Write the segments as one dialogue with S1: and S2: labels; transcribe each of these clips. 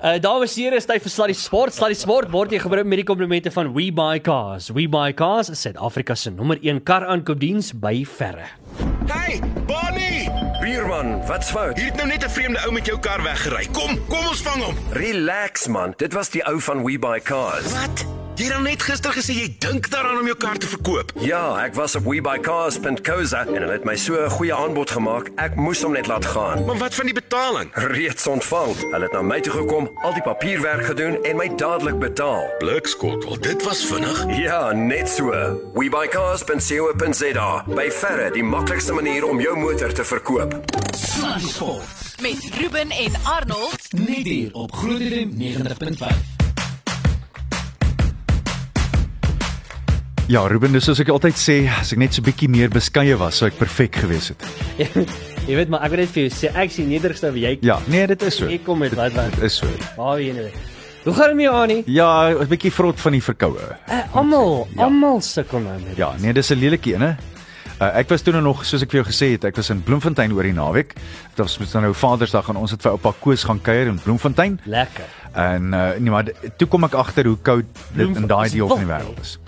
S1: Uh dames en here, is tyd vir Sluddy Sport. Sluddy Sport word hier gebring met die komplimente van We Buy Cars. We Buy Cars is Suid-Afrika se nommer 1 kar aankoopdiens by verre.
S2: Hey, Bonnie,
S3: Bierman, wat's fout?
S2: hier het nou net 'n vreemde ou met jou kar weggery. Kom, kom ons vang hom.
S3: Relax man, dit was die ou van We Buy Cars.
S2: Wat? Jy het al net gister gesê jy dink daaraan om jou kar te verkoop.
S3: Ja, ek was op webuycars.co.za en hulle het my so 'n goeie aanbod gemaak. Ek moes hom net laat gaan.
S2: Maar wat van die betaling?
S3: Reeds ontvang. Hulle het na my toe gekom, al die papierwerk gedoen en my dadelik betaal.
S2: Blikskottel, dit was vinnig.
S3: Ja, net so. webuycars.co.za. By verre die maklikste manier om jou motor te verkoop.
S4: Sport
S5: met Ruben en Arnold
S4: net hier op Groot FM 90.5.
S6: Ja, Ruben, dis soos ek altyd sê, as ek net so bietjie meer beskeie was, sou ek perfek gewees het.
S1: jy weet maar ek wil net vir jou sê ek sien nederigste wat jy
S6: Ja, nee, dit is so.
S1: Ek kom met wat wat.
S6: Dit is so.
S1: Waar jy nou. Hoe gaan dit met jou aan nie?
S6: Ja, 'n bietjie vrot van die verkoue.
S1: Uh, almal, almal sukkel nou met.
S6: Ja, nee, dis 'n lelike een, hè. Uh, ek was toe nou nog, soos ek vir jou gesê het, ek was in Bloemfontein oor die naweek. Dit was mos nou Vadersdag en ons het vir oupa Koos gaan kuier in Bloemfontein.
S1: Lekker.
S6: En uh, nee, maar d- toe kom ek agter hoe koud dit in daai deel van die wêreld is.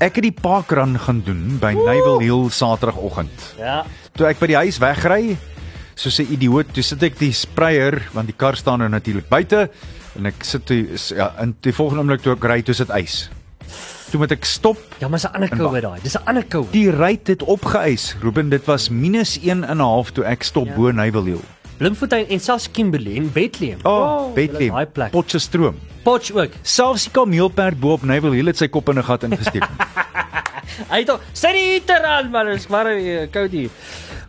S6: Ek het die parkrun gaan doen by Nyvel Hill Saterdagoggend.
S1: Ja.
S6: Toe ek by die huis wegry, soos 'n idioot, toe sit ek die sprayer want die kar staan nou natuurlik buite en ek sit toe is- ja, in die volgende oomblik toe ek ry, toe sit ys. Toe moet ek stop.
S1: Ja, maar is 'n ander koue daai. Dis 'n ander koue.
S6: Die ry het opgeys. Ruben, dit was -1.5 toe ek stop ja. bo Nyvelhill.
S1: Bloemfontein en selfs Kimberley en Bethlehem.
S6: O, oh,
S1: daai
S6: Bethlehem,
S1: plek.
S6: Potchefstroom.
S1: Potch ook.
S6: Selfs die kameelperd bo op Nyvelhill het sy kop in 'n gat ingesteek.
S1: Hy het al- sit die heater aan man, is maar eh, koud hier.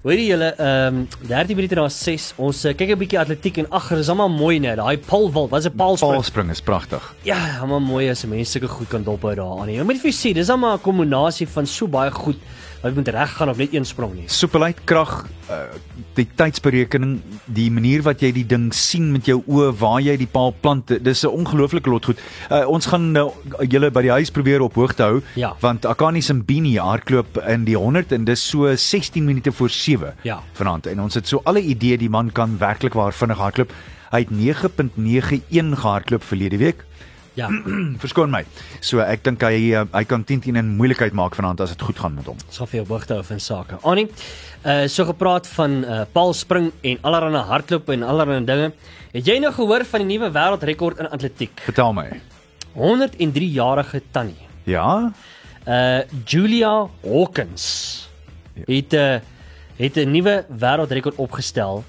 S1: Hoorie julle, ehm um, 13 minute na 6. Ons eh, kyk 'n bietjie atletiek en ag, dis almal mooi nee, net. Daai Paulwald, was 'n paalspring.
S6: Paalspring is pragtig.
S1: Ja, almal mooi as mense sulke goed kan dophou daaraan. nie. Ek nee. moet vir jou sê, dis almal 'n kombinasie van so baie goed wat moet reg gaan of net een sprong nie.
S6: Soepelheid, krag, uh, die tydsberekening, die manier wat jy die ding sien met jou oë waar jy die paal plant, dis 'n ongelooflike lot goed. Uh, ons gaan nou julle by die huis probeer op hoogte hou
S1: Ja.
S6: want Akani Simbini hardloop in die 100 en dis so 16 minute voor 7
S1: Ja.
S6: vanaand en ons het so alle idee die man kan werklik waar vinnig hardloop. Hy het 9.91 gehardloop verlede week.
S1: Ja.
S6: Verskoon my. So ek dink hy uh, hy kan 10 10 in moeilikheid maak vanaand as dit goed gaan met hom.
S1: Ons gaan vir jou hoogte hou van sake. Annie, uh so gepraat van uh paalspring en allerlei hardloop en allerlei dinge. Het jy nou gehoor van die nuwe wêreldrekord in atletiek?
S6: Vertel my.
S1: 103-jarige tannie,
S6: Ja?
S1: uh Julia Hawkins
S6: Ja.
S1: het 'n uh, het 'n nuwe wêreldrekord opgestel.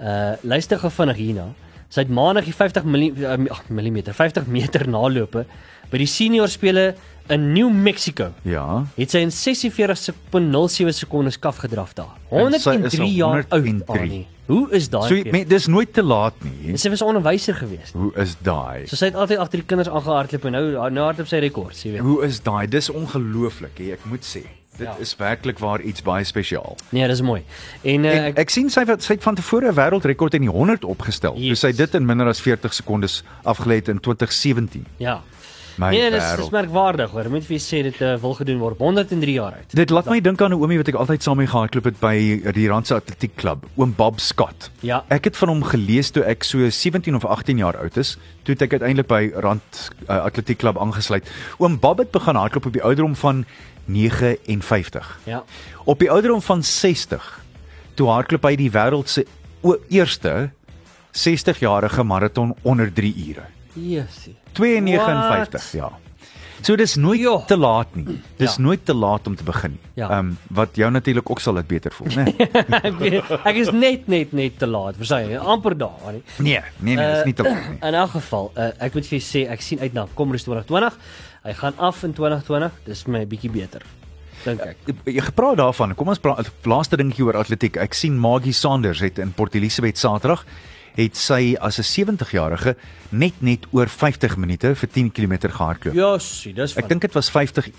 S1: Uh luister gou vinnig hierna. Sy het maandag die 50 mm ag mm 50 meter nalope by die senior spele in New Mexico
S6: Ja.
S1: het sy in 46.07 sekondes kaf gedraf daar.
S6: En sy
S1: 103
S6: is al
S1: jaar oud.
S6: 103.
S1: Annie. Hoe is daai?
S6: So jy-
S1: So,
S6: men, dis nooit te laat nie.
S1: sy was 'n onderwyser gewees.
S6: Hoe is daai?
S1: So sy het altyd agter die kinders aangehardloop en nou nou hardloop sy rekords, jy weet.
S6: Hoe is daai? Dis ongelooflik, hè, ek moet sê. Dit ja. is werklik waar iets baie spesiaal.
S1: Nee, dis mooi. En uh,
S6: Ja, Ek,
S1: ek,
S6: ek sien sy wat sy het van tevore 'n wêreldrekord in die 100 opgestel.
S1: Jesus.
S6: Yes. Sy het dit in minder as 40 sekondes afgelê het in 2017.
S1: ja.
S6: My
S1: nee, dis dis
S6: wêreld.
S1: merkwaardig hoor. Moet vir jou sê dit uh, wil gedoen word op 103 jaar oud.
S6: Dit laat my dink aan 'n oomie wat ek altyd saam mee gehardloop het by die Randse Atletiek Klub, oom Bob Scott.
S1: Ja.
S6: Ek het van hom gelees toe ek so 17 of 18 jaar oud is, toe het ek uiteindelik by Rand uh, Atletiek Klub aangesluit. Oom Bob het begin hardloop op die ouderdom van 59.
S1: Ja.
S6: Op die ouderdom van 60 toe hardloop hy die wêreld se o- eerste 60-jarige maraton onder 3 ure.
S1: Jesusie.
S6: 2.59, ja. So dis nooit
S1: Jo.
S6: jo. te laat nie.
S1: Ja.
S6: Dis ja. nooit te laat om te begin.
S1: Ja.
S6: Ehm um, wat jou natuurlik ook sal dit beter voel, né? Nee.
S1: ek, weet- ek is net net net te laat, verstaan jy? Amper daar, Annie.
S6: nee, nee nee,
S1: Eh,
S6: dis nie te laat nie.
S1: In elk geval, uh, ek moet vir jou sê ek sien uit na Komrus 2020. Hy gaan af in 2020. Dis my bietjie beter. Dink ek.
S6: Jy gepraat daarvan. Kom ons praat laaste dingetjie oor atletiek. Ek sien Maggie Sanders het in Port Elizabeth Saterdag het sy as 'n 70-jarige net net oor 50 minute vir 10 km gehardloop.
S1: Ja. Josie, dis
S6: Ek dink dit was 50-51.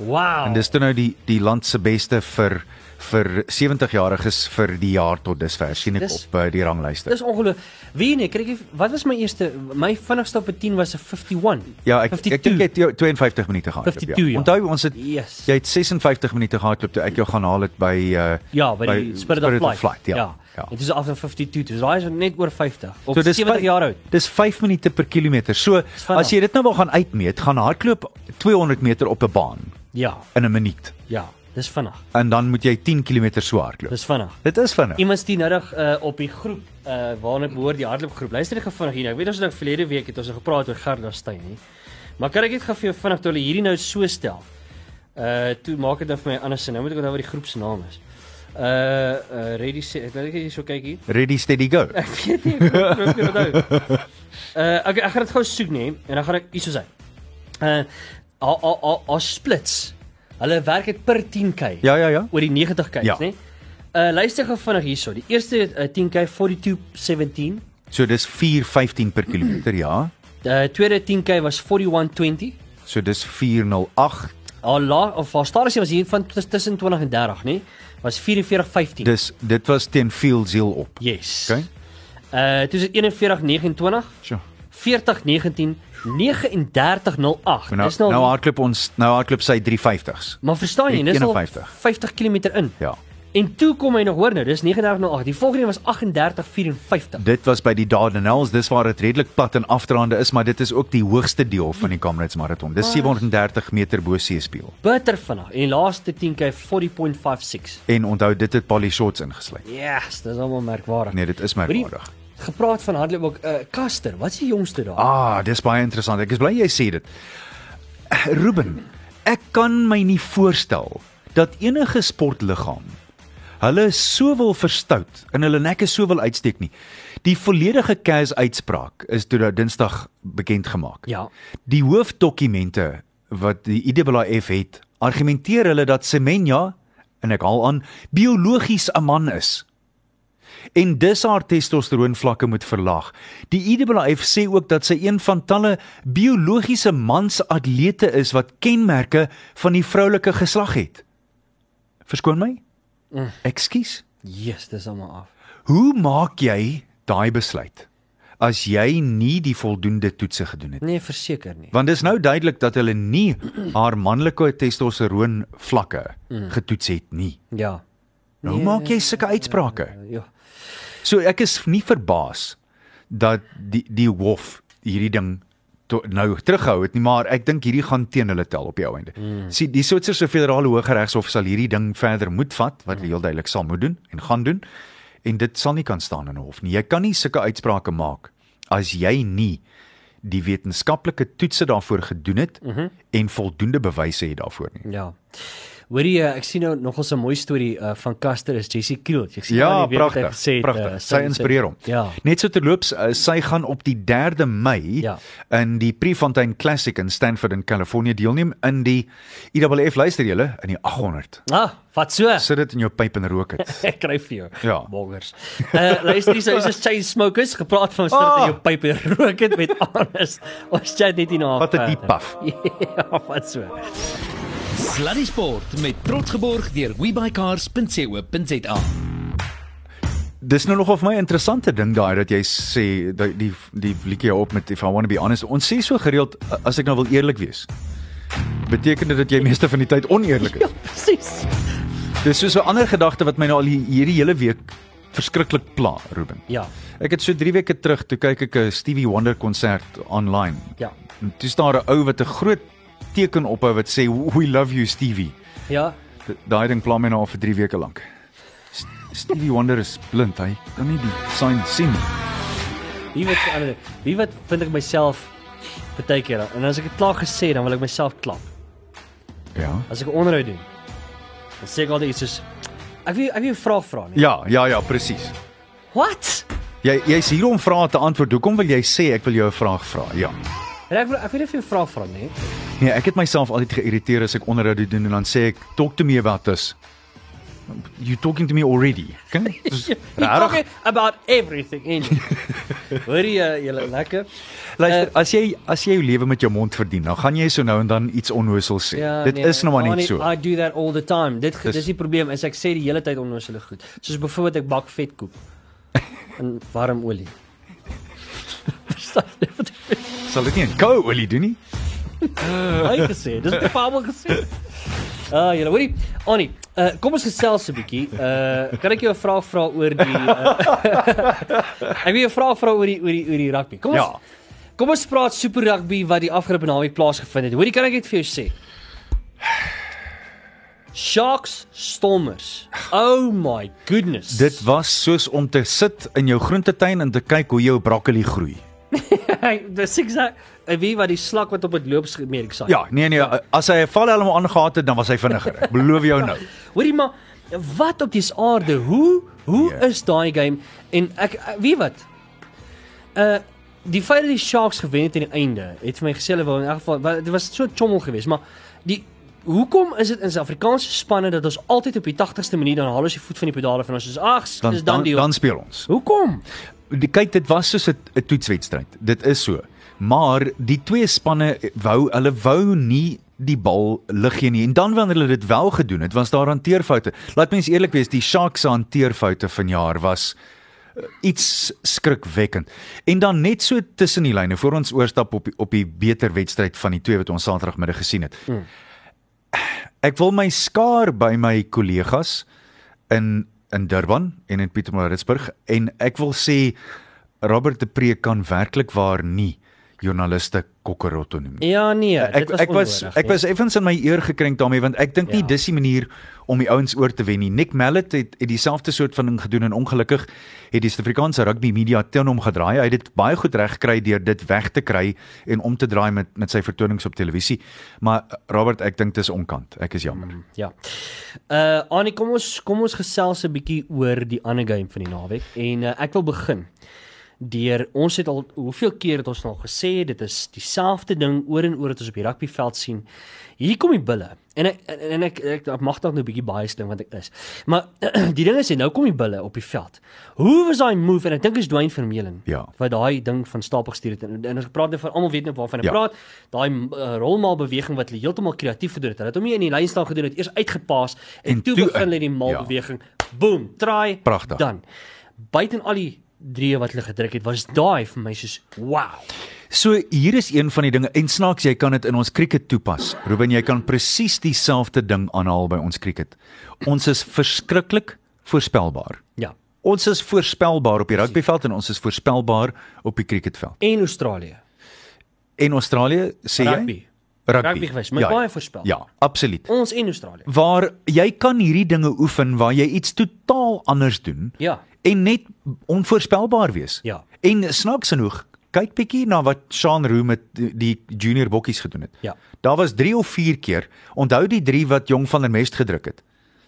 S1: wow.
S6: En dis toe nou die die land se beste vir vir 70-jariges vir die jaar tot dusver sien ek
S1: Dis-
S6: op uh, die ranglyste.
S1: Dis ongelooflik. Wie nee, kyk jy wat was my eerste my vinnigste op 'n 10 was 'n 51.
S6: Ja, ek 52. ek dink jy het jou 52 minute gehardloop.
S1: 52, ja.
S6: Onthou ons het
S1: Yes.
S6: jy het 56 minute gehardloop toe ek jou gaan haal het by uh,
S1: ja, by die Ja, Spirit of Flight.
S6: ja. ja. Ja.
S1: Dit is af in 52, dis daai is net oor 50 of
S6: So dis
S1: 70
S6: vyf-
S1: jaar oud.
S6: Dis 5 minute per kilometer. So
S1: vinnig.
S6: as jy dit nou wil gaan uitmeet, gaan hardloop 200 meter op 'n baan
S1: Ja,
S6: in 'n minuut
S1: ja, dis vinnig.
S6: en dan moet jy 10 km so hardloop.
S1: Dis vinnig.
S6: Dit is vinnig.
S1: Iemand stuur nodig uh, op die groep uh, waarna ek behoort, die hardloopgroep. Luister ek vinnig hier. nou. Ek weet ons het nou verlede week het ons nou gepraat oor Gerda Steyn, nie. Maar kan ek dit gou vir jou vinnig toe hulle hierdie nou so stel. Uh toe maak dit dan vir my anders sin. Nou moet ek onthou wat die groep se naam is. Uh uh ready sê ek laat ek hier so kyk hier.
S6: Ready steady go.
S1: Ek weet nie ek moet ook weer onthou. Uh okay, ek gaan dit gou soek nê en dan gaan ek hierso sê. Uh al al al- al splits. Hulle werk dit per 10k
S6: Ja ja ja.
S1: oor die 90 kyks,
S6: Ja.
S1: ja. né? Uh luister gou vinnig hierso. Die eerste uh, 10K 4217.
S6: So dis 4:15 per kilometer, ja.
S1: Uh tweede 10K was 4120.
S6: So dis 408.
S1: Al la of haar stasie was hier van tuss- tussen 20 en 30, né? Was 4415.
S6: Dis dit was teen Fields Hill op.
S1: Yes.
S6: Okay.
S1: Uh toe is dit 4129.
S6: Sjoe.
S1: 4019 3908.
S6: Maar Nou,
S1: Dis nou,
S6: nou hardloop ons nou hardloop sy 3:50s.
S1: maar verstaan jy, dis al
S6: 51.
S1: 50 km in.
S6: Ja.
S1: En toe kom hy nog hoor nou, dis 3908. Die volgende een was 3854.
S6: Dit was by die Dardanelles, dis waar dit redelik plat en afdraande is, maar dit is ook die hoogste deel van die Kamerads maraton. Dis 730 meter bo seespieël.
S1: Bitter vinnig. En die laaste 10K 40.56.
S6: En onthou dit het Polly Shorts ingesluit.
S1: Yes, dis almal merkwaardig.
S6: Nee, dit is merkwaardig.
S1: Hoorie, Gepraat van hardloop ook uh, Kaster, wat is die jongste daar?
S6: Ah, dis baie interessant. Ek is bly jy sê dit. Ruben, ek kan my nie voorstel dat enige sportliggaam hulle so wil verstout en hulle nekke so wil uitsteek nie. Die volledige CAS uitspraak is toe nou Dinsdag bekend gemaak.
S1: Ja.
S6: Die hoofdokumente wat die IAAF het, argumenteer hulle dat Semenya en ek haal aan biologies 'n man is en dus haar testosteroonvlakke moet verlaag. Die IAAF sê ook dat sy een van talle biologiese mansatlete is wat kenmerke van die vroulike geslag het. Verskoon my? Ekskuus.
S1: Yes, dis almal af.
S6: Hoe maak jy daai besluit as jy nie die voldoende toetse gedoen het?
S1: Nee, verseker nie.
S6: Want dis nou duidelik dat hulle nie haar manlike testosteroon vlakke getoets het nie.
S1: Ja.
S6: Nou hoe maak jy sulke uitsprake?
S1: Ja.
S6: So ek is nie verbaas dat die die hof hierdie ding to, nou terughou het nie, maar ek dink hierdie gaan teen hulle tel op die ou einde. Mm. Sien, die Switserse Federale Hooggeregshof sal hierdie ding verder moet vat wat hulle heel duidelik sal moet doen en gaan doen en dit sal nie kan staan in 'n hof nie. Jy kan nie sulke uitsprake maak as jy nie die wetenskaplike toetse daarvoor gedoen het mm -hmm. en voldoende bewyse het daarvoor nie.
S1: Ja. Hoorie, uh, ek sien nou nogal so 'n mooi storie uh, van Kaster is Jessie Kriel. Ek sien
S6: Ja,
S1: nou nie weet wat hy
S6: pragtig.
S1: gesê het,
S6: Pragtig.
S1: uh,
S6: Sy inspireer hom.
S1: Ja.
S6: Net so terloops, uh, sy gaan op die 3de Mei
S1: Ja.
S6: in die Prefontaine Classic in Stanford in Kalifornië deelneem in die IWF luister julle in die 800.
S1: Ah, wat so?
S6: Sit dit in jou pyp en rook dit.
S1: Ek kry vir jou.
S6: Ja.
S1: Bongers. Uh luister hier, so is ons chain smokers gepraat van sit
S6: Ah.
S1: in jou pyp en rook dit met alles. Ons chat net hier na.
S6: Wat 'n
S1: uh,
S6: diep paf.
S1: Ja, wat so.
S4: Sluddy Sport met trots geborg deur webycars.co.za.
S6: Dis nou nogal vir my 'n interessante ding daai dat jy sê dat die die liedjie op met if I want to be honest. Ons sê so gereeld uh, as ek nou wil eerlik wees. Beteken dit dat jy meeste van die tyd oneerlik is?
S1: Ja, presies.
S6: Dis soos 'n ander gedagte wat my nou al hier- hierdie hele week verskriklik pla, Ruben.
S1: Ja.
S6: Ek het so 3 weke terug toe kyk ek 'n Stevie Wonder konsert online.
S1: Ja.
S6: En toe staan daar 'n ou wat 'n groot teken ophou wat sê we love you Stevie.
S1: Ja.
S6: Da- Daai ding pla my nou al vir 3 weke lank. S- Stevie Wonder is blind, hy kan nie die sign sien nie.
S1: Wie wat ander wie wat vind ek myself baie keer en as ek dit klaar gesê dan wil ek myself klap.
S6: Ja.
S1: As ek 'n onderhoud doen. Dan sê ek altyd iets soos ek wil ek wil 'n vraag vra nie.
S6: Ja, ja, ja, presies.
S1: Wat?
S6: Jy jy's hier om vrae te antwoord. Hoekom wil jy sê ek wil jou 'n vraag vra? Ja.
S1: En ek wil ek wil nie vir jou 'n vraag vra nie.
S6: Nee, ek het myself altyd geïrriteer as ek onderhoude doen en dan sê ek talk to me about this. You talking to me already. Kan
S1: You're
S6: rarig.
S1: talking about everything in. Hoorie uh, julle lekker.
S6: Luister, as jy as jy jou lewe met jou mond verdien, dan gaan jy so nou en dan iets onnoosel sê.
S1: Ja,
S6: Dit
S1: nee,
S6: is nou maar net
S1: Ronnie,
S6: so.
S1: I do that all the time. Dit
S6: Dis-
S1: dis, dis die probleem is ek sê die hele tyd onnoosele goed. Soos byvoorbeeld ek bak vetkoek in warm olie. Verstaan jy wat ek
S6: Sal dit nie in koue olie doen nie?
S1: Hy gesê, dis te almal gesê. Ah, uh, julle hoorie, Annie, uh, kom ons gesels so 'n bietjie. Uh kan ek jou 'n vraag vra oor die uh, Ek wil jou 'n vraag vra oor die oor die oor die rugby. Kom ons
S6: Ja.
S1: Kom ons praat Super Rugby wat die afgelope naweek plaasgevind het. Hoorie, kan ek dit vir jou sê? Sharks Stormers. Oh my goodness.
S6: Dit was soos om te sit in jou groentetein en te kyk hoe jou broccoli groei.
S1: Hey, dis exact. Ek weet wat die slak wat op dit loop gemeer ek sê.
S6: Ja, nee nee, as hy 'n valhelm aangetree het, dan was hy vinniger. Ek beloof jou nou.
S1: Hoorie maar wat op dis aarde? Hoe hoe
S6: Ja.
S1: yeah. is daai game en ek ek- weet wat? Uh die feit dat die Sharks gewen het aan die einde het vir my gesê hulle wou in elk geval wa- dit was so chommel geweest, maar die Hoekom is dit in Suid-Afrikaanse spanne dat ons altyd op die 80ste minuut dan haal ons die voet van die pedale van ons is ag, dis
S6: Dan
S1: dan,
S6: dan,
S1: die
S6: dan speel ons.
S1: Hoekom?
S6: Die kyk, dit was soos 'n 'n toetswedstryd. Dit is so. Maar die twee spanne wou hulle wou nie die bal lig gee nie. En dan wanneer hulle dit wel gedoen het, was daar hanteerfoute. Laat mens eerlik wees, die Sharks se hanteerfoute vanjaar was iets skrikwekkend. En dan net so tussen die lyne voor ons oorstap op die, op die beter wedstryd van die twee wat ons Saterdagmiddag gesien het. Ek wil my skaar by my kollegas in in Durban en in Pietermaritzburg en ek wil sê Robert de Pre kan werklik waar nie joernaliste kokkerotto noem. nie.
S1: Ja nee,
S6: Ek
S1: dit was
S6: ek was
S1: onnodig,
S6: ek
S1: nee.
S6: was effens in my eer gekrenk daarmee want ek dink nie
S1: Ja.
S6: dis die manier om die ouens oor te wen nie. Nick Mallet het, het dieselfde soort van ding gedoen en ongelukkig het die Suid-Afrikaanse rugby media teen hom gedraai. Hy het dit baie goed reg gekry deur dit weg te kry en om te draai met met sy vertonings op televisie. Maar Robert, ek dink dis onkant. Ek is jammer.
S1: Ja. Uh Annie, kom ons kom ons gesels 'n bietjie oor die ander game van die naweek en uh, ek wil begin. Deur ons het al hoeveel keer het ons nou gesê dit is dieselfde ding oor en oor wat ons op die rugbyveld sien. Hier kom die bulle. En ek en, en ek ek, ek mag dalk nou 'n bietjie baie slim want ek is. Maar die ding is en nou kom die bulle op die veld. Hoe was daai move en ek dink is Dwayne Vermeulen
S6: Ja.
S1: wat daai ding van stapel gestuur het en, en ons praat nou van almal weet nou waarvan ek
S6: Ja.
S1: ja. praat daai uh, rolmaal beweging wat hulle heeltemal kreatief gedoen het hulle het hom nie in die lyn staan gedoen het eers uitgepaas en,
S6: En
S1: en toe
S6: toe
S1: begin
S6: in.
S1: hulle die maal
S6: Ja.
S1: ja. beweging boom try
S6: Pragtig.
S1: dan buiten al die drie wat hulle gedruk het was daai vir my soos wow
S6: So hier is een van die dinge en snaaks jy kan dit in ons cricket toepas. Ruben, jy kan presies dieselfde ding aanhaal by ons cricket. Ons is verskriklik voorspelbaar.
S1: ja
S6: Ons is voorspelbaar op die rugbyveld en ons is voorspelbaar op die cricketveld.
S1: en Australië
S6: En Australië sê jy
S1: Rugby. Rugby gewees, maar baie voorspel.
S6: Ja, absoluut.
S1: ons en Australië
S6: Waar jy kan hierdie dinge oefen waar jy iets totaal anders doen
S1: ja
S6: en net onvoorspelbaar wees.
S1: Ja.
S6: En snaaks genoeg, kyk bietjie na wat Sean Roo met die- die junior bokkies gedoen het.
S1: Ja.
S6: Daar was 3 of 4 keer. Onthou die 3 wat Jong van der Mest gedruk het.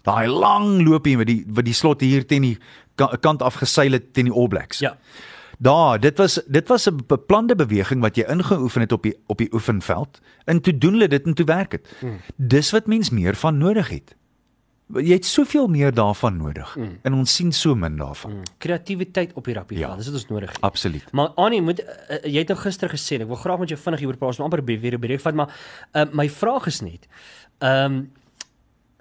S6: Daai lang loopie met die wat die slot hier teen die ka- kant afgeseil het teen die All Blacks.
S1: ja
S6: Daar, dit was dit was 'n beplande beweging wat jy ingeoefen het op die op die oefenveld. En toe doen hulle dit en toe werk dit. Hmm. Dis wat mens meer van nodig het. Jy het soveel meer daarvan nodig hmm. en ons sien so min daarvan. Hmm.
S1: kreatiwiteit op die rugbyveld
S6: Ja.
S1: dis wat ons nodig het
S6: Absoluut.
S1: Maar Annie, moet uh, uh, jy het nou gister gesê, en ek wil graag met jou vinnig hieroor praat, ons moet amper be- weer 'n breek vat, maar uh, my vraag is net. Ehm um,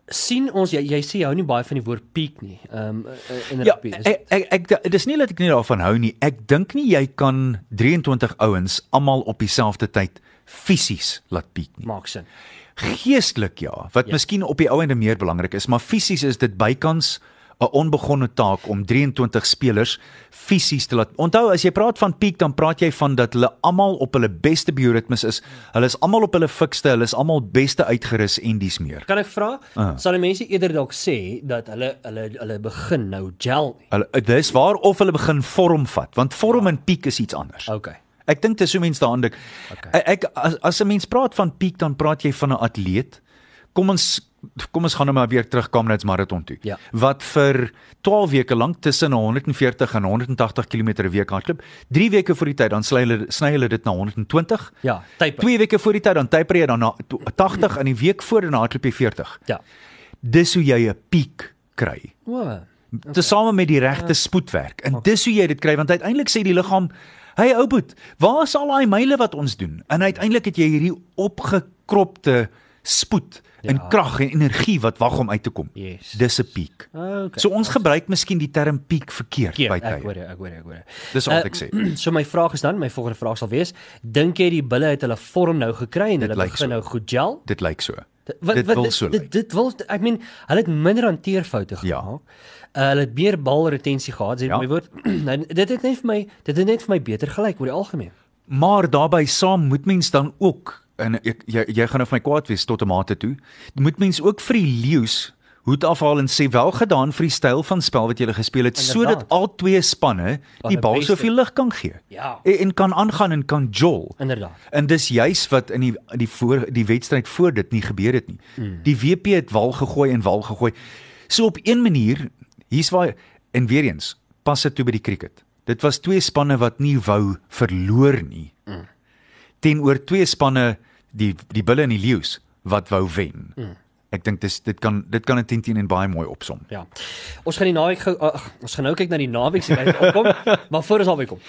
S1: sien ons jy jy sê jy hou nie baie van die woord peak nie. Ehm um, uh, in
S6: Ja,
S1: rugby is
S6: ek ek, ek dis nie dat ek nie daarvan hou nie. Ek dink nie jy kan 23 ouens almal op dieselfde tyd fisies laat piek nie.
S1: maak sin.
S6: Geestelik ja, wat ja. miskien op die ou ende meer belangrik is, maar fisies is dit bykans 'n onbegonne taak om 23 spelers fisies te laat. Onthou, as jy praat van piek, dan praat jy van dat hulle almal op hulle beste bioritmes is. Hulle is almal op hulle fikste, hulle is almal beste uitgerus en dis meer.
S1: Kan ek vra, uh. sal die mense eerder dalk sê dat hulle hulle hulle begin nou gel nie?
S6: Hulle dis waar of hulle begin vorm vat, want vorm en piek is iets anders.
S1: OK.
S6: Ek dink dis hoe mense daaraan dink. Okay. Ek as, as 'n mens praat van piek dan praat jy van 'n atleet. Kom ons kom ons gaan nou maar weer terug Comrades Marathon toe.
S1: Ja.
S6: Wat vir 12 weke lank tussen 140 en 180 km 'n week hardloop. 3 weke voor die tyd dan sny hulle sny hulle dit na 120.
S1: Ja, taper.
S6: 2 weke voor die tyd dan taper jy dan na to- 80 en die week voor dan hardloop jy 40.
S1: Ja.
S6: Dis hoe jy 'n piek kry
S1: O.
S6: tesame met die
S1: Ja.
S6: regte spoedwerk. En dis hoe jy dit kry want uiteindelik sê die liggaam, "Hey ou boet, waar is al daai myle wat ons doen?" En uiteindelik het jy hierdie opgekropte spoed en
S1: Ja.
S6: krag en energie wat wag om uit te kom.
S1: Yes. Ah,
S6: Dis 'n piek.
S1: OK.
S6: So ons gebruik miskien die term piek verkeerd
S1: Keer,
S6: by
S1: ek hoor
S6: tye.
S1: jou, ek hoor jou, ek hoor jou. Eh,
S6: Dis al wat ek sê.
S1: So my vraag is dan, my volgende vraag sal wees, dink jy die bulle het hulle vorm nou gekry en
S6: Dit
S1: hulle
S6: lyk
S1: begin
S6: so.
S1: nou goed gel?
S6: Dit lyk so.
S1: Wat,
S6: Dit
S1: wat,
S6: wil
S1: dit,
S6: so
S1: dit,
S6: lyk.
S1: dit wil ek meen hulle het minder hanteerfoute gemaak.
S6: Ja.
S1: Uh, hulle het meer balretensie gehad, sê
S6: Ja.
S1: ja. my woord. nou, dit het net vir my dit het net vir my beter gelyk oor die algemeen.
S6: Maar daarbey saam moet mens dan ook en ek jy jy gaan nou vir my kwaad wees tot 'n mate toe. Moet mens ook vir die leeu's hoed afhaal en sê wel gedaan vir die styl van spel wat jy gespeel het sodat
S1: Inderdaad.
S6: al twee spanne die
S1: die
S6: bal
S1: beste-
S6: soveel lig kan gee.
S1: Ja.
S6: En, en kan aangaan en kan jol.
S1: Inderdaad.
S6: En dis juis wat in die die voor die wedstryd voor dit nie gebeur het nie. Mm. Die WP het wal gegooi en wal gegooi. So op een manier, hier's waar en weer eens pas dit toe by die cricket. Dit was twee spanne wat nie wou verloor nie. Mm. Teenoor twee spanne die die Bulle en die Leeu's wat wou wen. Mm. Ek dink dis dit kan dit kan 'n 10 teen en baie mooi opsom.
S1: Ja. Ons gaan die naweek gou ag, ons gaan nou kyk na die naweek se kyk opkom, maar voor ons alweer kom.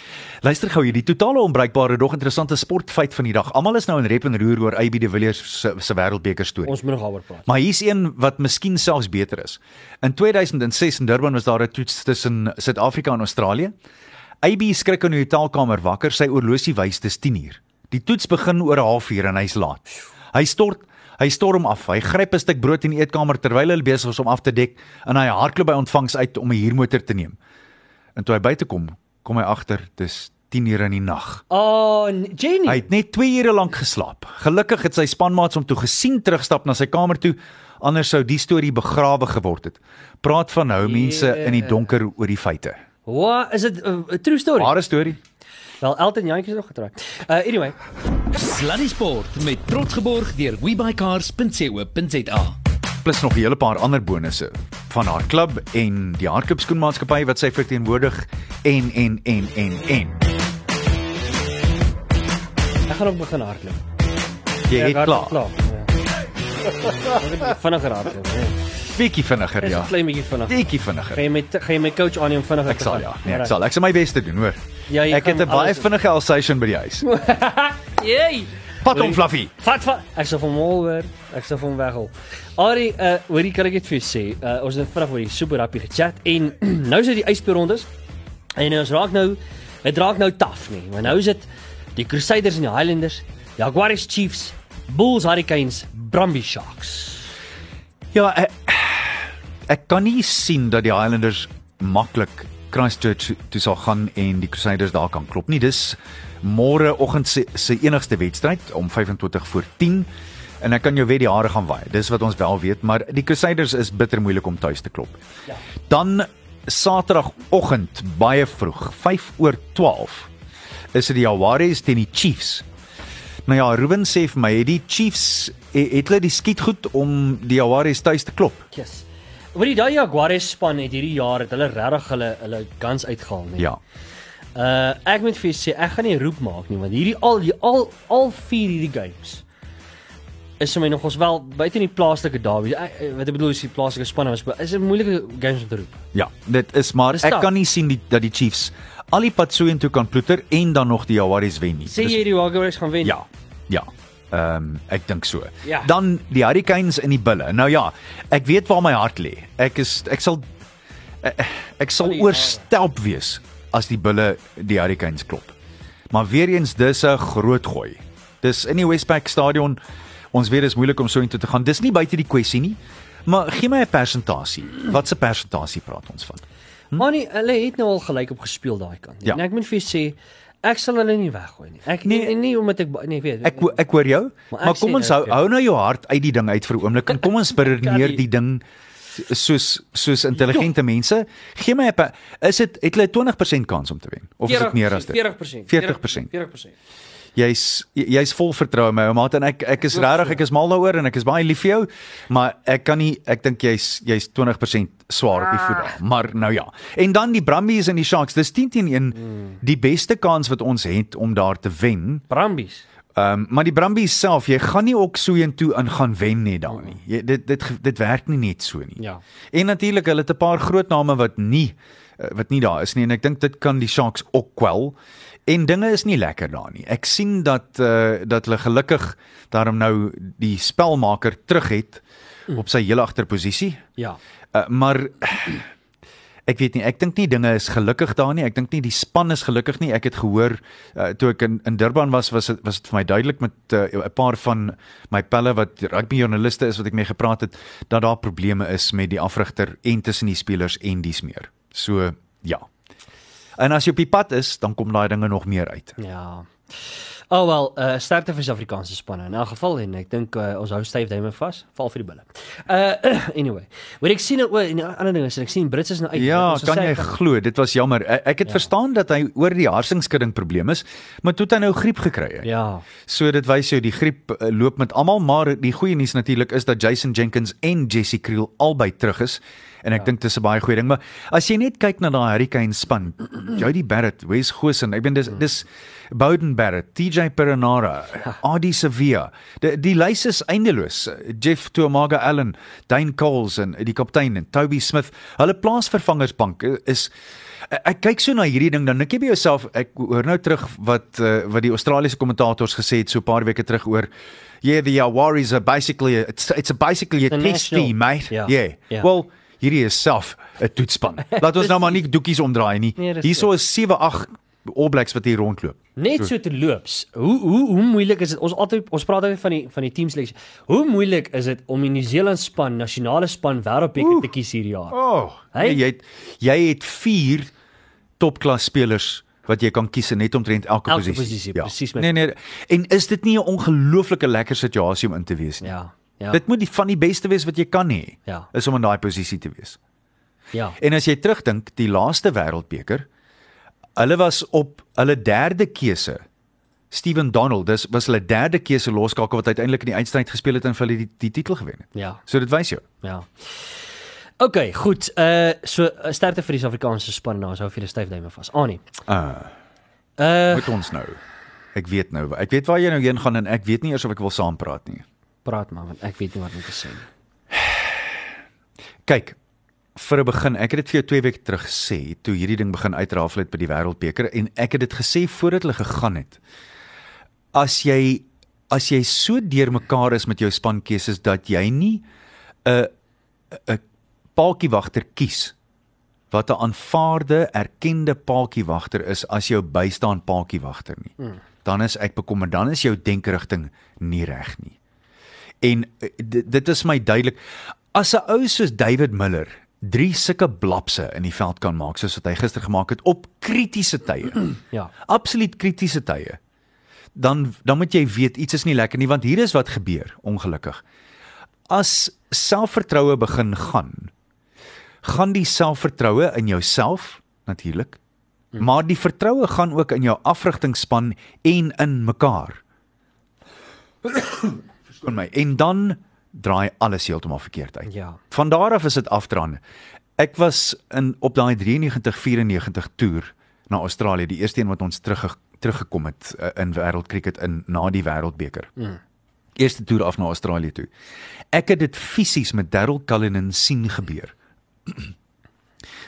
S6: Luister gou hierdie totale onbruikbare dog interessante sportfeit van die dag. Almal is nou in rep en roer oor AB de Villiers se, se wêreldbeker storie.
S1: Ons moet nog daaroor praat.
S6: Ja. Maar hier's een wat miskien selfs beter is. In 2006 in Durban was daar 'n toets tussen Suid-Afrika en Australië. AB skrik in die hotelkamer wakker, sy oorlosie wys dis 10uur. Die toets begin oor 0.5uur en hy's laat. Hy stort Hy storm af. Hy gryp 'n stuk brood in die eetkamer terwyl hulle besig is om af te dek en hy hardloop by ontvangs uit om 'n huurmotor te neem. En toe hy buite kom, kom hy agter dis 10uur in die nag.
S1: Oh, Jenny.
S6: Hy het net 2 ure lank geslaap. Gelukkig het sy spanmaats hom toe gesien terugstap na sy kamer toe, anders sou die storie begrawe geword het. Praat van nou mense in
S1: Ja.
S6: die donker oor die feite.
S1: Wat is dit 'n uh, true story?
S6: Ware storie.
S1: Wel, Elton Jantjie is nog getroud. Uh anyway,
S4: Sluddy Sport met trots geborg deur webuycars.co.za.
S6: Plus nog 'n hele paar ander bonusse van haar klub en die hardloopskoenmaatskappy wat sy verteenwoordig en en en en en.
S1: ek gaan ook begin hardloop.
S6: Jy
S1: Ek
S6: het
S1: hardloop
S6: klaar.
S1: Ja. Ek het Vinniger hardloop. Nee.
S6: Bietjie vinniger
S1: Dis 'n
S6: ja.
S1: klein bietjie vinnig.
S6: Bietjie
S1: Gaan
S6: vinniger.
S1: jy met gaan jy my coach aan om vinniger
S6: Ek sal ja. Nee, ek
S1: Alright.
S6: sal. Ek sal my bes te doen, hoor.
S1: Ja, jy
S6: Ek het
S1: gaan
S6: 'n baie
S1: alles-
S6: vinnige Alsatian by die huis.
S5: Jee.
S6: Pat hom fluffy.
S1: Vat vat. Ek sal van hom hoor. Ek sal van hom weghol. Ari, uh hoorie kan ek dit vir jou sê. Uh ons het vinnig oor die super rappie gechat en nou is dit die ysberondes. En ons raak nou dit raak nou taaf nie. Maar nou is dit die Crusaders en die Highlanders, Jaguars Chiefs, Bulls Hurricanes, Brumby Sharks.
S6: Ja, ek, ek kan nie sien dat die Highlanders maklik Christchurch toe sal gaan en die Crusaders daar kan klop nie. Dis môre oggend se, se enigste wedstryd om 25 voor 10 en ek kan jou weet die hare gaan waai. Dis wat ons wel weet, maar die Crusaders is bitter moeilik om tuis te klop. Ja. Dan Saterdagoggend baie vroeg, 5 oor 12 is dit die Jaguars teen die Chiefs. Nou ja, Ruben sê vir my, het die Chiefs het, het hulle die skiet goed om die Jaguars tuis te klop.
S1: Yes. Oor die daai Jaguars span het hierdie jaar het hulle regtig hulle hulle guns uitgehaal, nee.
S6: Ja.
S1: Uh ek moet vir jou sê ek gaan nie roep maak nie want hierdie al die al al vier hierdie games is vir my nog ons wel buite in die plaaslike derby. Ek, eh, wat ek bedoel is die plaaslike spanne was is 'n moeilike games om te roep.
S6: Ja, dit is maar
S1: Dis
S6: ek
S1: taak.
S6: kan nie sien die, dat die Chiefs al die pad so intoe kan ploeter en dan nog die Jaguars wen nie.
S1: Sê jy die Jaguars gaan wen?
S6: Ja. Ja. Ehm um, ek dink so.
S1: Ja.
S6: Dan die Hurricanes en die Bulle. Nou ja, ek weet waar my hart lê. Ek is ek sal ek, ek sal
S1: die
S6: oorstelp wees as die Bulle die Hurricanes klop. Maar weer eens dis 'n groot gooi. Dis in die Westpac stadion. Ons weet dit is moeilik om so intoe te gaan. Dis nie buite die kwessie nie. Maar gee my 'n persentasie. Wat se persentasie praat ons van?
S1: Maar nie, hulle het nou al gelyk op gespeel daai kant. nie.
S6: Hm? Ja.
S1: En ek moet vir jou sê ek sal hulle nie weggooi nie. Ek nee,
S6: Nee.
S1: nie, nie omdat ek ba- nee weet.
S6: Ek ho- ek hoor jou, maar,
S1: Maar ek
S6: maar kom
S1: sê
S6: ons
S1: nou,
S6: hou
S1: Pierre.
S6: hou nou jou hart uit die ding uit vir 'n oomblik en kom ons beredeneer
S1: nie.
S6: die ding soos soos intelligente mense. Gee my 'n pa- is dit het hulle 20% kans om te wen of is dit meer as dit?
S1: 40%.
S6: 40%.
S1: 40%.
S6: Jy's jy's vol vertroue my ouma en ek ek is regtig ek is mal daaroor en ek is baie lief vir jou, maar ek kan nie ek dink jy's jy's 20% swaar op die voet daar. Maar nou ja. En dan die Brumbies en die Sharks, dis 10 teen 1 die beste kans wat ons het om daar te wen.
S1: Brambies.
S6: Ehm um, maar die Brumbies self, jy gaan nie ook so intoe aan gaan wen net daar nie. Jy, dit dit ge- dit werk nie net so nie.
S1: Ja.
S6: En natuurlik hulle het 'n paar groot name wat nie eh, wat nie daar is nie en ek dink dit kan die Sharks ook kwel. En dinge is nie lekker daar nie. Ek sien dat eh uh, dat hulle gelukkig daarom nou die spelmaker Ja. terug het op sy heel agterposisie.
S1: Ja.
S6: Uh, maar Eh, Ek weet nie, ek dink nie dinge is gelukkig daar nie. Ek dink nie die span is gelukkig nie. Ek het gehoor uh, toe ek in, in Durban was was dit was dit vir my duidelik met 'n uh, paar van my pelle wat rugby joernaliste is wat ek mee gepraat het dat daar probleme is met die afrigter en tussen die spelers en dis meer. So ja. En as jy op die pad is, dan kom daai dinge nog meer uit.
S1: Ja. Oh wel, uh sterkte vir Suid-Afrikaanse spanne. In elk geval en ek dink uh, ons hou styf duime vas, val vir die bulle. Uh anyway, wat ek sien oor en ander dinge, is, ek sien Brits is nou uit.
S6: Ja,
S1: Ons
S6: kan
S1: gesê-
S6: jy glo, dit was jammer. Ek, ek het ja. verstaan dat hy oor die harsingskudding probleem is, maar toe het hy nou griep gekry. het.
S1: Ja.
S6: So dit wys jou die griep eh, loop met almal, maar die goeie nuus natuurlik is dat Jason Jenkins en Jesse Creel albei terug is en ek ja. dink dis 'n baie goeie ding, maar as jy net kyk na daai Hurricane span, Jody Barrett, Wes Gosen, ek meen dis dis Bowden Barrett, TJ Perenara, Adi Sevilla. Die, die lys is eindeloos. Jeff Tuamaga Allen, Dane Coles en die kaptein en Toby Smith. Hulle plaasvervangersbank is Ek- Ek kyk so na hierdie ding dan dink jy by jouself ek hoor nou terug wat uh, wat die Australiese kommentators gesê het so 'n paar weke terug oor yeah the Awaris are basically it's it's a basically a
S1: The
S6: test
S1: national-
S6: team mate.
S1: Ja,
S6: Yeah. yeah.
S1: ja.
S6: yeah. Well hierdie is self 'n toetspan. Laat ons nou maar nie doekies omdraai nie.
S1: Nee, dis
S6: Hierso is 7-8 All Blacks wat hier rondloop.
S1: Net so te loops. Hoe hoe hoe moeilik is dit? Ons altyd ons praat altyd van die van die teamseleksie. Hoe moeilik is dit om die Nieu-Seeland span, nasionale span wêreldbeker te kies hierdie jaar?
S6: Oh,
S1: Hey.
S6: hey. jy het, jy het 4 topklas spelers wat jy kan kies in net omtrent elke,
S1: Elke
S6: posisie.
S1: posisie, presies my-
S6: Nee nee, en is dit nie 'n ongelooflike lekker situasie om in te wees nie?
S1: Ja. Ja.
S6: Ja. Dit moet die van die beste wees wat jy kan hê.
S1: Ja.
S6: Is om in daai posisie te wees.
S1: ja.
S6: En as jy terugdink, die laaste wêreldbeker, hulle was op hulle derde keuse. Steven Donald, dis was hulle derde keuse loskakel wat uiteindelik in die eindstryd gespeel het en vir hulle die, die titel gewen het.
S1: Ja.
S6: So dit wys jou.
S1: Ja. OK, goed. Uh so uh, sterkte vir die Suid-Afrikaanse span nou, ons hou vir die styf duime vas. Anie. Ah. Uh
S6: Moet ons nou. Ek weet nou, ek weet waar jy nou heen gaan en ek weet nie eers of ek wil saam praat nie.
S1: praat maar want ek weet nie wat om te sê nie.
S6: Kyk, vir 'n begin, ek het dit vir jou 2 weke terug gesê toe hierdie ding begin uitrafel het by die Wêreldbeker en ek het dit gesê voordat hulle gegaan het. As jy as jy so deurmekaar is met jou spankeuses dat jy nie 'n 'n paaltjiewagter kies wat 'n aanvaarde, erkende paaltjiewagter is as jou bystaan paaltjiewagter nie. Mm. Dan is ek bekommerd, dan is jou denkerigting nie reg nie. En eh, dit, dit is my duidelik as 'n ou soos David Miller drie sulke blapse in die veld kan maak soos wat hy gister gemaak het op kritiese tye.
S1: Ja.
S6: Absoluut kritiese tye. Dan dan moet jy weet iets is nie lekker nie want hier is wat gebeur ongelukkig. As selfvertroue begin gaan, gaan die selfvertroue in jouself natuurlik, maar die vertroue gaan ook in jou afrigtingspan en in mekaar. Verskoon my. En dan draai alles heeltemal verkeerd uit.
S1: Ja.
S6: Van daar af is dit afdraande. Ek was in op daai 93 94 toer na Australië, die eerste een wat ons terug teruggekom het uh, in wêreldkriket in na die wêreldbeker. Mm. Eerste toer af na Australië toe. Ek het dit fisies met Darryl Cullinan sien gebeur.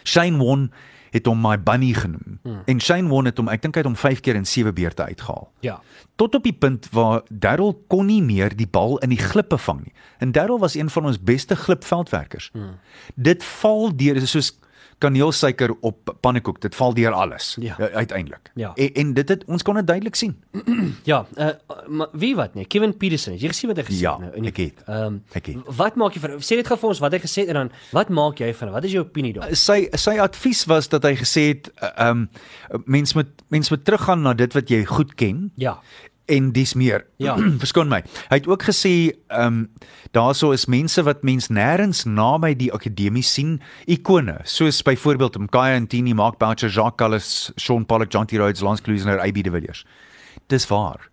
S6: Shane Won het hom my bunny genoem. Mm. En Shane Won het hom, ek dink hy het hom 5 keer in 7 beurte uitgehaal
S1: Ja.
S6: tot op die punt waar Darryl kon nie meer die bal in die glippe vang nie. En Darryl was een van ons beste glipveldwerkers. Hmm. Dit val deur dit is soos kaneelsuiker op pannekoek. Dit val deur alles
S1: Ja.
S6: u- uiteindelik.
S1: Ja.
S6: En, en dit het, ons kon dit duidelik sien.
S1: Ja, uh, maar wie wat nie? Kevin Peterson. het Jy gesien wat hy gesê
S6: Ja,
S1: het nou in die
S6: ek het.
S1: Ehm
S6: Ek het.
S1: wat maak jy van sê net gou vir ons wat hy gesê het en dan wat maak jy van wat is jou opinie daar?
S6: Sy sy advies was dat hy gesê het ehm uh, um, mens moet mens moet teruggaan na dit wat jy goed ken.
S1: Ja.
S6: en dis meer.
S1: Ja.
S6: Verskoon my. Hy het ook gesê, ehm um, daarso is mense wat mens nêrens naby die akademie sien, ikone, soos byvoorbeeld Mkhize Ntini, Mark Boucher, Jacques Callis, Sean Pollock, John T. Rhodes, Lance Klusener, AB de Villiers. Dis waar.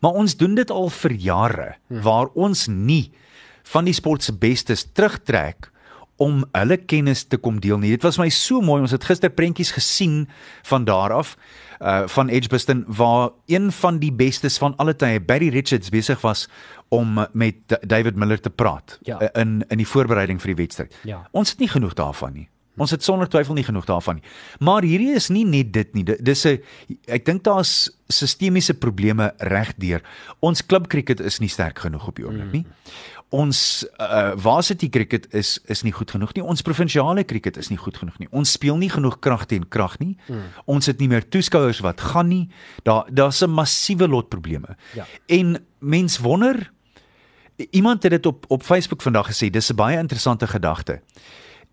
S6: Maar ons doen dit al vir jare hmm. waar ons nie van die sport se bestes terugtrek om hulle kennis te kom deel nie. Dit was my so mooi. Ons het gister prentjies gesien van daar af uh van Edgbaston waar een van die bestes van alle tye, Barry Richards besig was om met D- David Miller te praat
S1: Ja.
S6: uh, in in die voorbereiding vir die wedstryd.
S1: Ja.
S6: Ons het nie genoeg daarvan nie. Ons het sonder twyfel nie genoeg daarvan nie. Maar hierdie is nie net dit nie. Dit- Dis 'n ek dink daar's
S1: Mm.
S6: sistemiese probleme regdeur. Ons klubkriket is nie sterk genoeg op die oomblik nie. ons uh, varsity cricket is is nie goed genoeg nie. Ons provinsiale cricket is nie goed genoeg nie. Ons speel nie genoeg krag teen krag nie. Mm. Ons het nie meer toeskouers wat gaan nie. Daar daar's 'n massiewe lot probleme.
S1: Ja.
S6: En mens wonder iemand het dit op op Facebook vandag gesê, dis 'n baie interessante gedagte.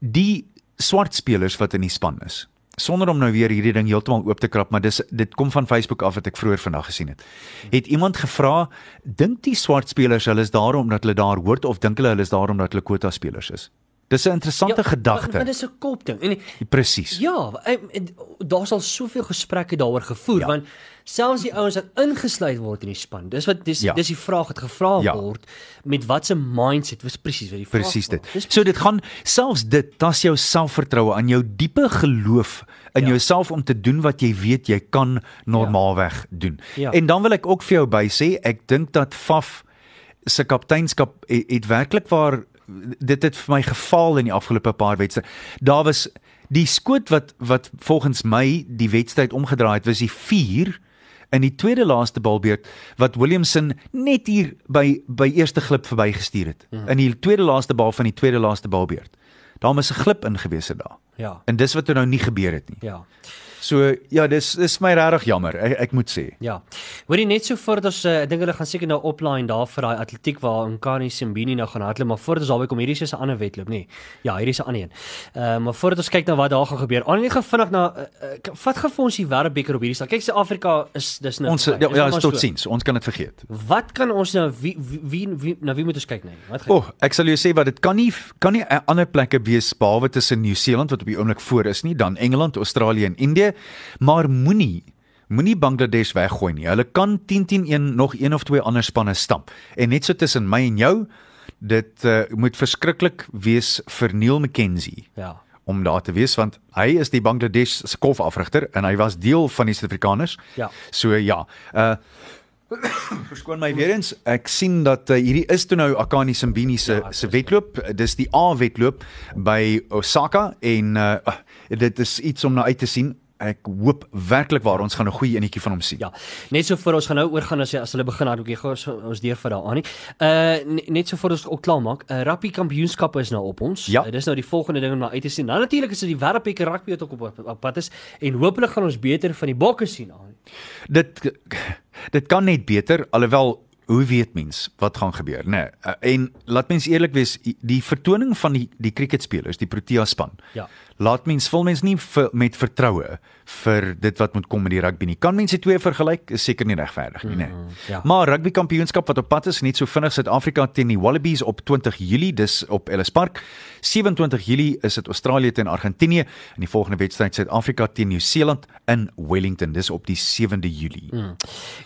S6: Die swart spelers wat in die span is. Sonder om nou weer hierdie ding heeltemal oop te krap, maar dis dit kom van Facebook af wat ek vroeër vandag gesien het. Het iemand gevra, dink die swart spelers hulle is daar omdat hulle daar hoort of dink hulle hulle is daar omdat hulle kwota spelers is? Dis 'n interessante ja,
S1: Maar, maar
S6: gedagte.
S1: dis 'n kop ding. En
S6: Presies.
S1: ja, en- en daar's al soveel gesprekke daaroor gevoer ja.
S6: Ja.
S1: want selfs die ouens wat ingesluit word in die span. Dis wat dis
S6: Ja.
S1: ja. dis die vraag wat gevra
S6: Ja.
S1: ja. word met watse mindset. Dis presies wat die vraag
S6: Presies dit.
S1: was. Dis
S6: So dit gaan selfs dit tas jou selfvertroue aan jou diepe geloof in ja. jouself om te doen wat jy weet jy kan normaalweg doen. Ja.
S1: Ja.
S6: En dan wil ek ook vir jou by sê, ek dink dat Faf se kapteinskap het, het werklik waar dit het vir my gefaal in die afgelope paar wedstryde. Daar was die skoot wat wat volgens my die wedstryd omgedraai het was die 4 in die tweede laaste balbeurt wat Williamson net hier by by eerste glip verbygestuur het. Mm. In die tweede laaste bal van die tweede laaste balbeurt. Daar was 'n glip ingewees daar.
S1: Ja.
S6: En dis wat nou nie gebeur het nie.
S1: Ja.
S6: So ja, dis dis my regtig jammer. Ek, ek moet sê.
S1: Ja. Hoorie net so voordat ons eh, ek dink hulle gaan seker nou oplaai daar vir daai atletiek waar Nkani Simbini nou gaan hardloop, maar voordat ons daarby kom, hierdie is 'n ander wedloop, nê. Nee. Ja, hierdie is 'n ander een. Ehm maar voordat ons kyk na wat daar gaan gebeur. Aanlyn gaan vinnig na uh, uh, vat gou vir ons die wêreldbeker op hierdie staan. Kyk, Suid-Afrika is dis nou
S6: Ons ja,
S1: voorbij. Dis
S6: ja,
S1: nou
S6: is
S1: maar
S6: tot
S1: so.
S6: sins. Ons kan dit vergeet.
S1: Wat kan ons nou wie wie, wie wie na wie moet ons kyk nou? Wat gaan
S6: O, oh, ek sal jou sê wat dit kan nie kan nie a- ander plekke wees behalwe tussen Nieu-Seeland wat op die oomblik voor is nie, dan Engeland, Australië en Indië, maar moenie moenie Bangladesh weggooi nie. Hulle kan 10-10-1 nog een of twee ander spanne stamp. En net so tussen my en jou, dit uh, moet verskriklik wees vir Neil McKenzie
S1: Ja.
S6: om daar te wees want hy is die Bangladesh se kolfafrigter en hy was deel van die Suid-Afrikaners.
S1: Ja.
S6: So ja. Uh Verskoon my weer eens. Ek sien dat uh, hierdie is toe nou Akani Simbini se ja, se wedloop. Dis die A wedloop by Osaka en uh ah, dit is iets om na uit te sien. Ek hoop werklik waar ons gaan 'n goeie enetjie van hom sien.
S1: Ja. Net so voor ons gaan nou oorgaan as as hulle begin hardloop, jy gaan ons, ons deur vir daaraan nie. Uh ne- net so voor ons ook klaar maak. Uh rugby kampioenskappe is nou op ons.
S6: Ja.
S1: Uh, dis nou die volgende ding om na uit te sien. Dan natuurlik is dit die wêreldbeker rugby wat ook op- op op pad is en hopelik gaan ons beter van die bokke sien aan.
S6: dit dit kan net beter alhoewel hoe weet mens wat gaan gebeur nê nee, en laat mens eerlik wees die vertoning van die die cricketspelers die Protea span
S1: Ja.
S6: laat mens vol mens nie vir, met vertroue vir dit wat moet kom met die rugby nie kan mense twee vergelyk is seker nie regverdig nie nê nee. mm,
S1: ja.
S6: maar rugby kampioenskap wat op pad is net so vinnig Suid-Afrika teen die Wallabies op 20 Julie dis op Ellis Park 27 Julie is dit Australië teen Argentinië en die volgende wedstryd Suid-Afrika teen Nieu-Seeland in Wellington dis op die 7de Julie mm.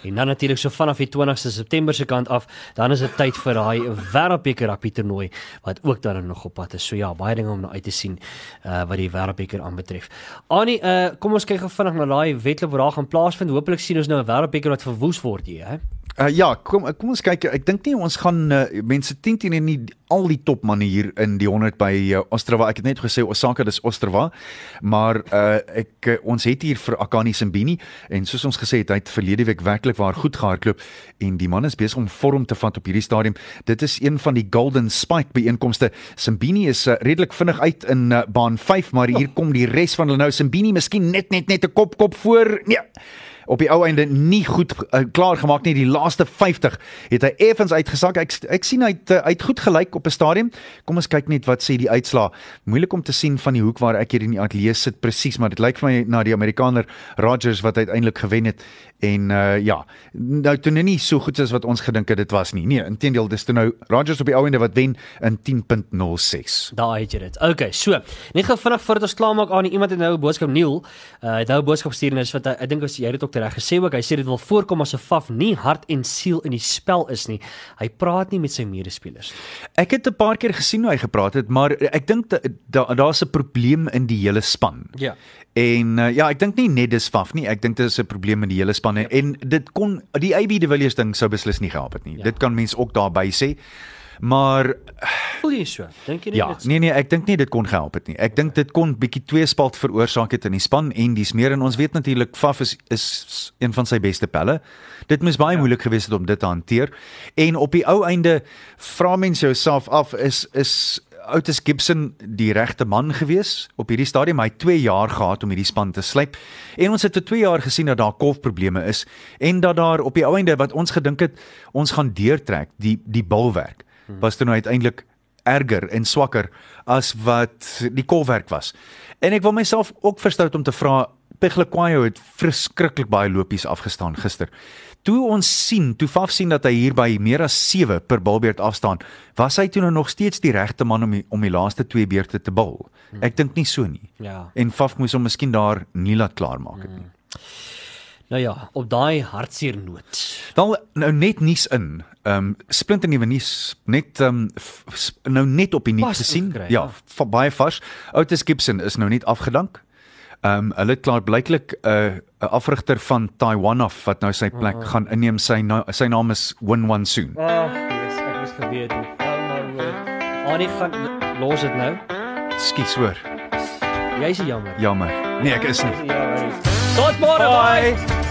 S1: En dan natuurlik so vanaf die 20ste September se kant af, dan is dit tyd vir daai wêreldbeker rugby toernooi wat ook dan nog op pad is. So ja, baie dinge om na uit te sien uh wat die wêreldbeker aanbetref. Annie, uh kom ons kyk gou vinnig na daai wedloop wat daar gaan plaasvind. Hoopelik sien ons nou 'n wêreldbeker wat verwoes word hier, hè.
S6: Uh, ja, kom kom ons kyk. eh, Ek dink nie ons gaan uh, mense 10 teen en nie al die topmanne hier in die 100 by uh, Ostrava. Ek het net gesê Osaka dis Ostrava, maar uh, ek uh, ons het hier vir Akani Simbini en soos ons gesê het, hy het verlede week werklik waar goed gehardloop en die man is besig om vorm te vat op hierdie stadium. Dit is een van die Golden Spike byeenkomste. Simbini is uh, redelik vinnig uit in uh, baan 5, maar hier kom die res van hulle nou. Simbini miskien net net net 'n kop kop voor. Nee op die ou einde nie goed uh, klaar gemaak nie. Die laaste 50 het hy effens uitgesak. Ek ek sien hy het uh, uit goed gelyk op 'n stadium. Kom ons kyk net wat sê die uitslaa. Moeilik om te sien van die hoek waar ek hier in die ateljee sit presies, maar dit lyk vir my na die Amerikaner Rodgers wat uiteindelik gewen het. En uh, ja, nou toe nou nie so goed as wat ons gedink het dit was nie. Nee, inteendeel, dis toe nou Rodgers op die ou einde wat wen in 10.06.
S1: Daar het jy dit. Okay, so, net gou vinnig voordat ons klaarmaak aan iemand het nou 'n boodskap Neil. Uh het nou 'n boodskap stuur en is wat hy- ek dink as jy dit ook reg gesê ook. Hy sê dit wil voorkom as 'n faf nie hart en siel in die spel is nie. Hy praat nie met sy medespelers nie.
S6: Ek het 'n paar keer gesien hoe hy gepraat het, maar ek dink da- da- daar's 'n probleem in die hele span.
S1: Ja.
S6: En uh, ja, ek dink nie net dis Faf nie, ek dink dit is 'n probleem in die hele span en dit kon die AB de Villiers ding sou beslis nie gehelp het nie. Ja. Dit kan mens ook daarby sê. Maar
S1: Voel jy so? Dink jy nie
S6: ja,
S1: dit?
S6: nee nee, ek dink nie dit kon gehelp het nie. Ek dink dit kon bietjie tweespalt veroorsaak het in die span en dis meer en ons weet natuurlik Faf is is een van sy beste pelle. Dit moes baie ja. moeilik gewees het om dit te hanteer. En op die ou einde vra mens jouself af is is Otis Gibson die regte man gewees op hierdie stadium. Hy het 2 jaar gehad om hierdie span te slyp. En ons het vir 2 jaar gesien dat daar kolfprobleme is en dat daar op die ou einde wat ons gedink het ons gaan deurtrek, die die bilwerk was toe nou uiteindelik erger en swakker as wat die kolwerk was. En ek wil myself ook verstout om te vra Peglikwayo het verskriklik baie lopies afgestaan gister. Toe ons sien, toe Faf sien dat hy hier by meer as 7 per bilbeurt afstaan, was hy toe nou nog steeds die regte man om die, om die laaste twee beurte te bil. Ek dink nie so nie.
S1: Ja.
S6: En Faf moes hom miskien daar nie laat klaarmaak het nie.
S1: Nou ja, op daai hartseer noot.
S6: Wel nou net nuus in. Ehm um, splinternuwe nuus net ehm um, f- s- nou net op die nuus
S1: Pas
S6: gesien.
S1: ingekry,
S6: Ja,
S1: ja.
S6: va- baie vars. Otis Gibson is nou net afgedank. Ehm um, hulle het klaar blyklik 'n uh, 'n afrigter van Taiwan af wat nou sy plek gaan inneem. Sy na, sy naam is Win Won Soon.
S1: Ag, yes, ek moes geweet het. Oh my word. Annie gaan los dit nou.
S6: Skus hoor.
S1: Jy's jammer.
S6: Jammer. Nee, ek is nie.
S1: Tot môre, bye. bye.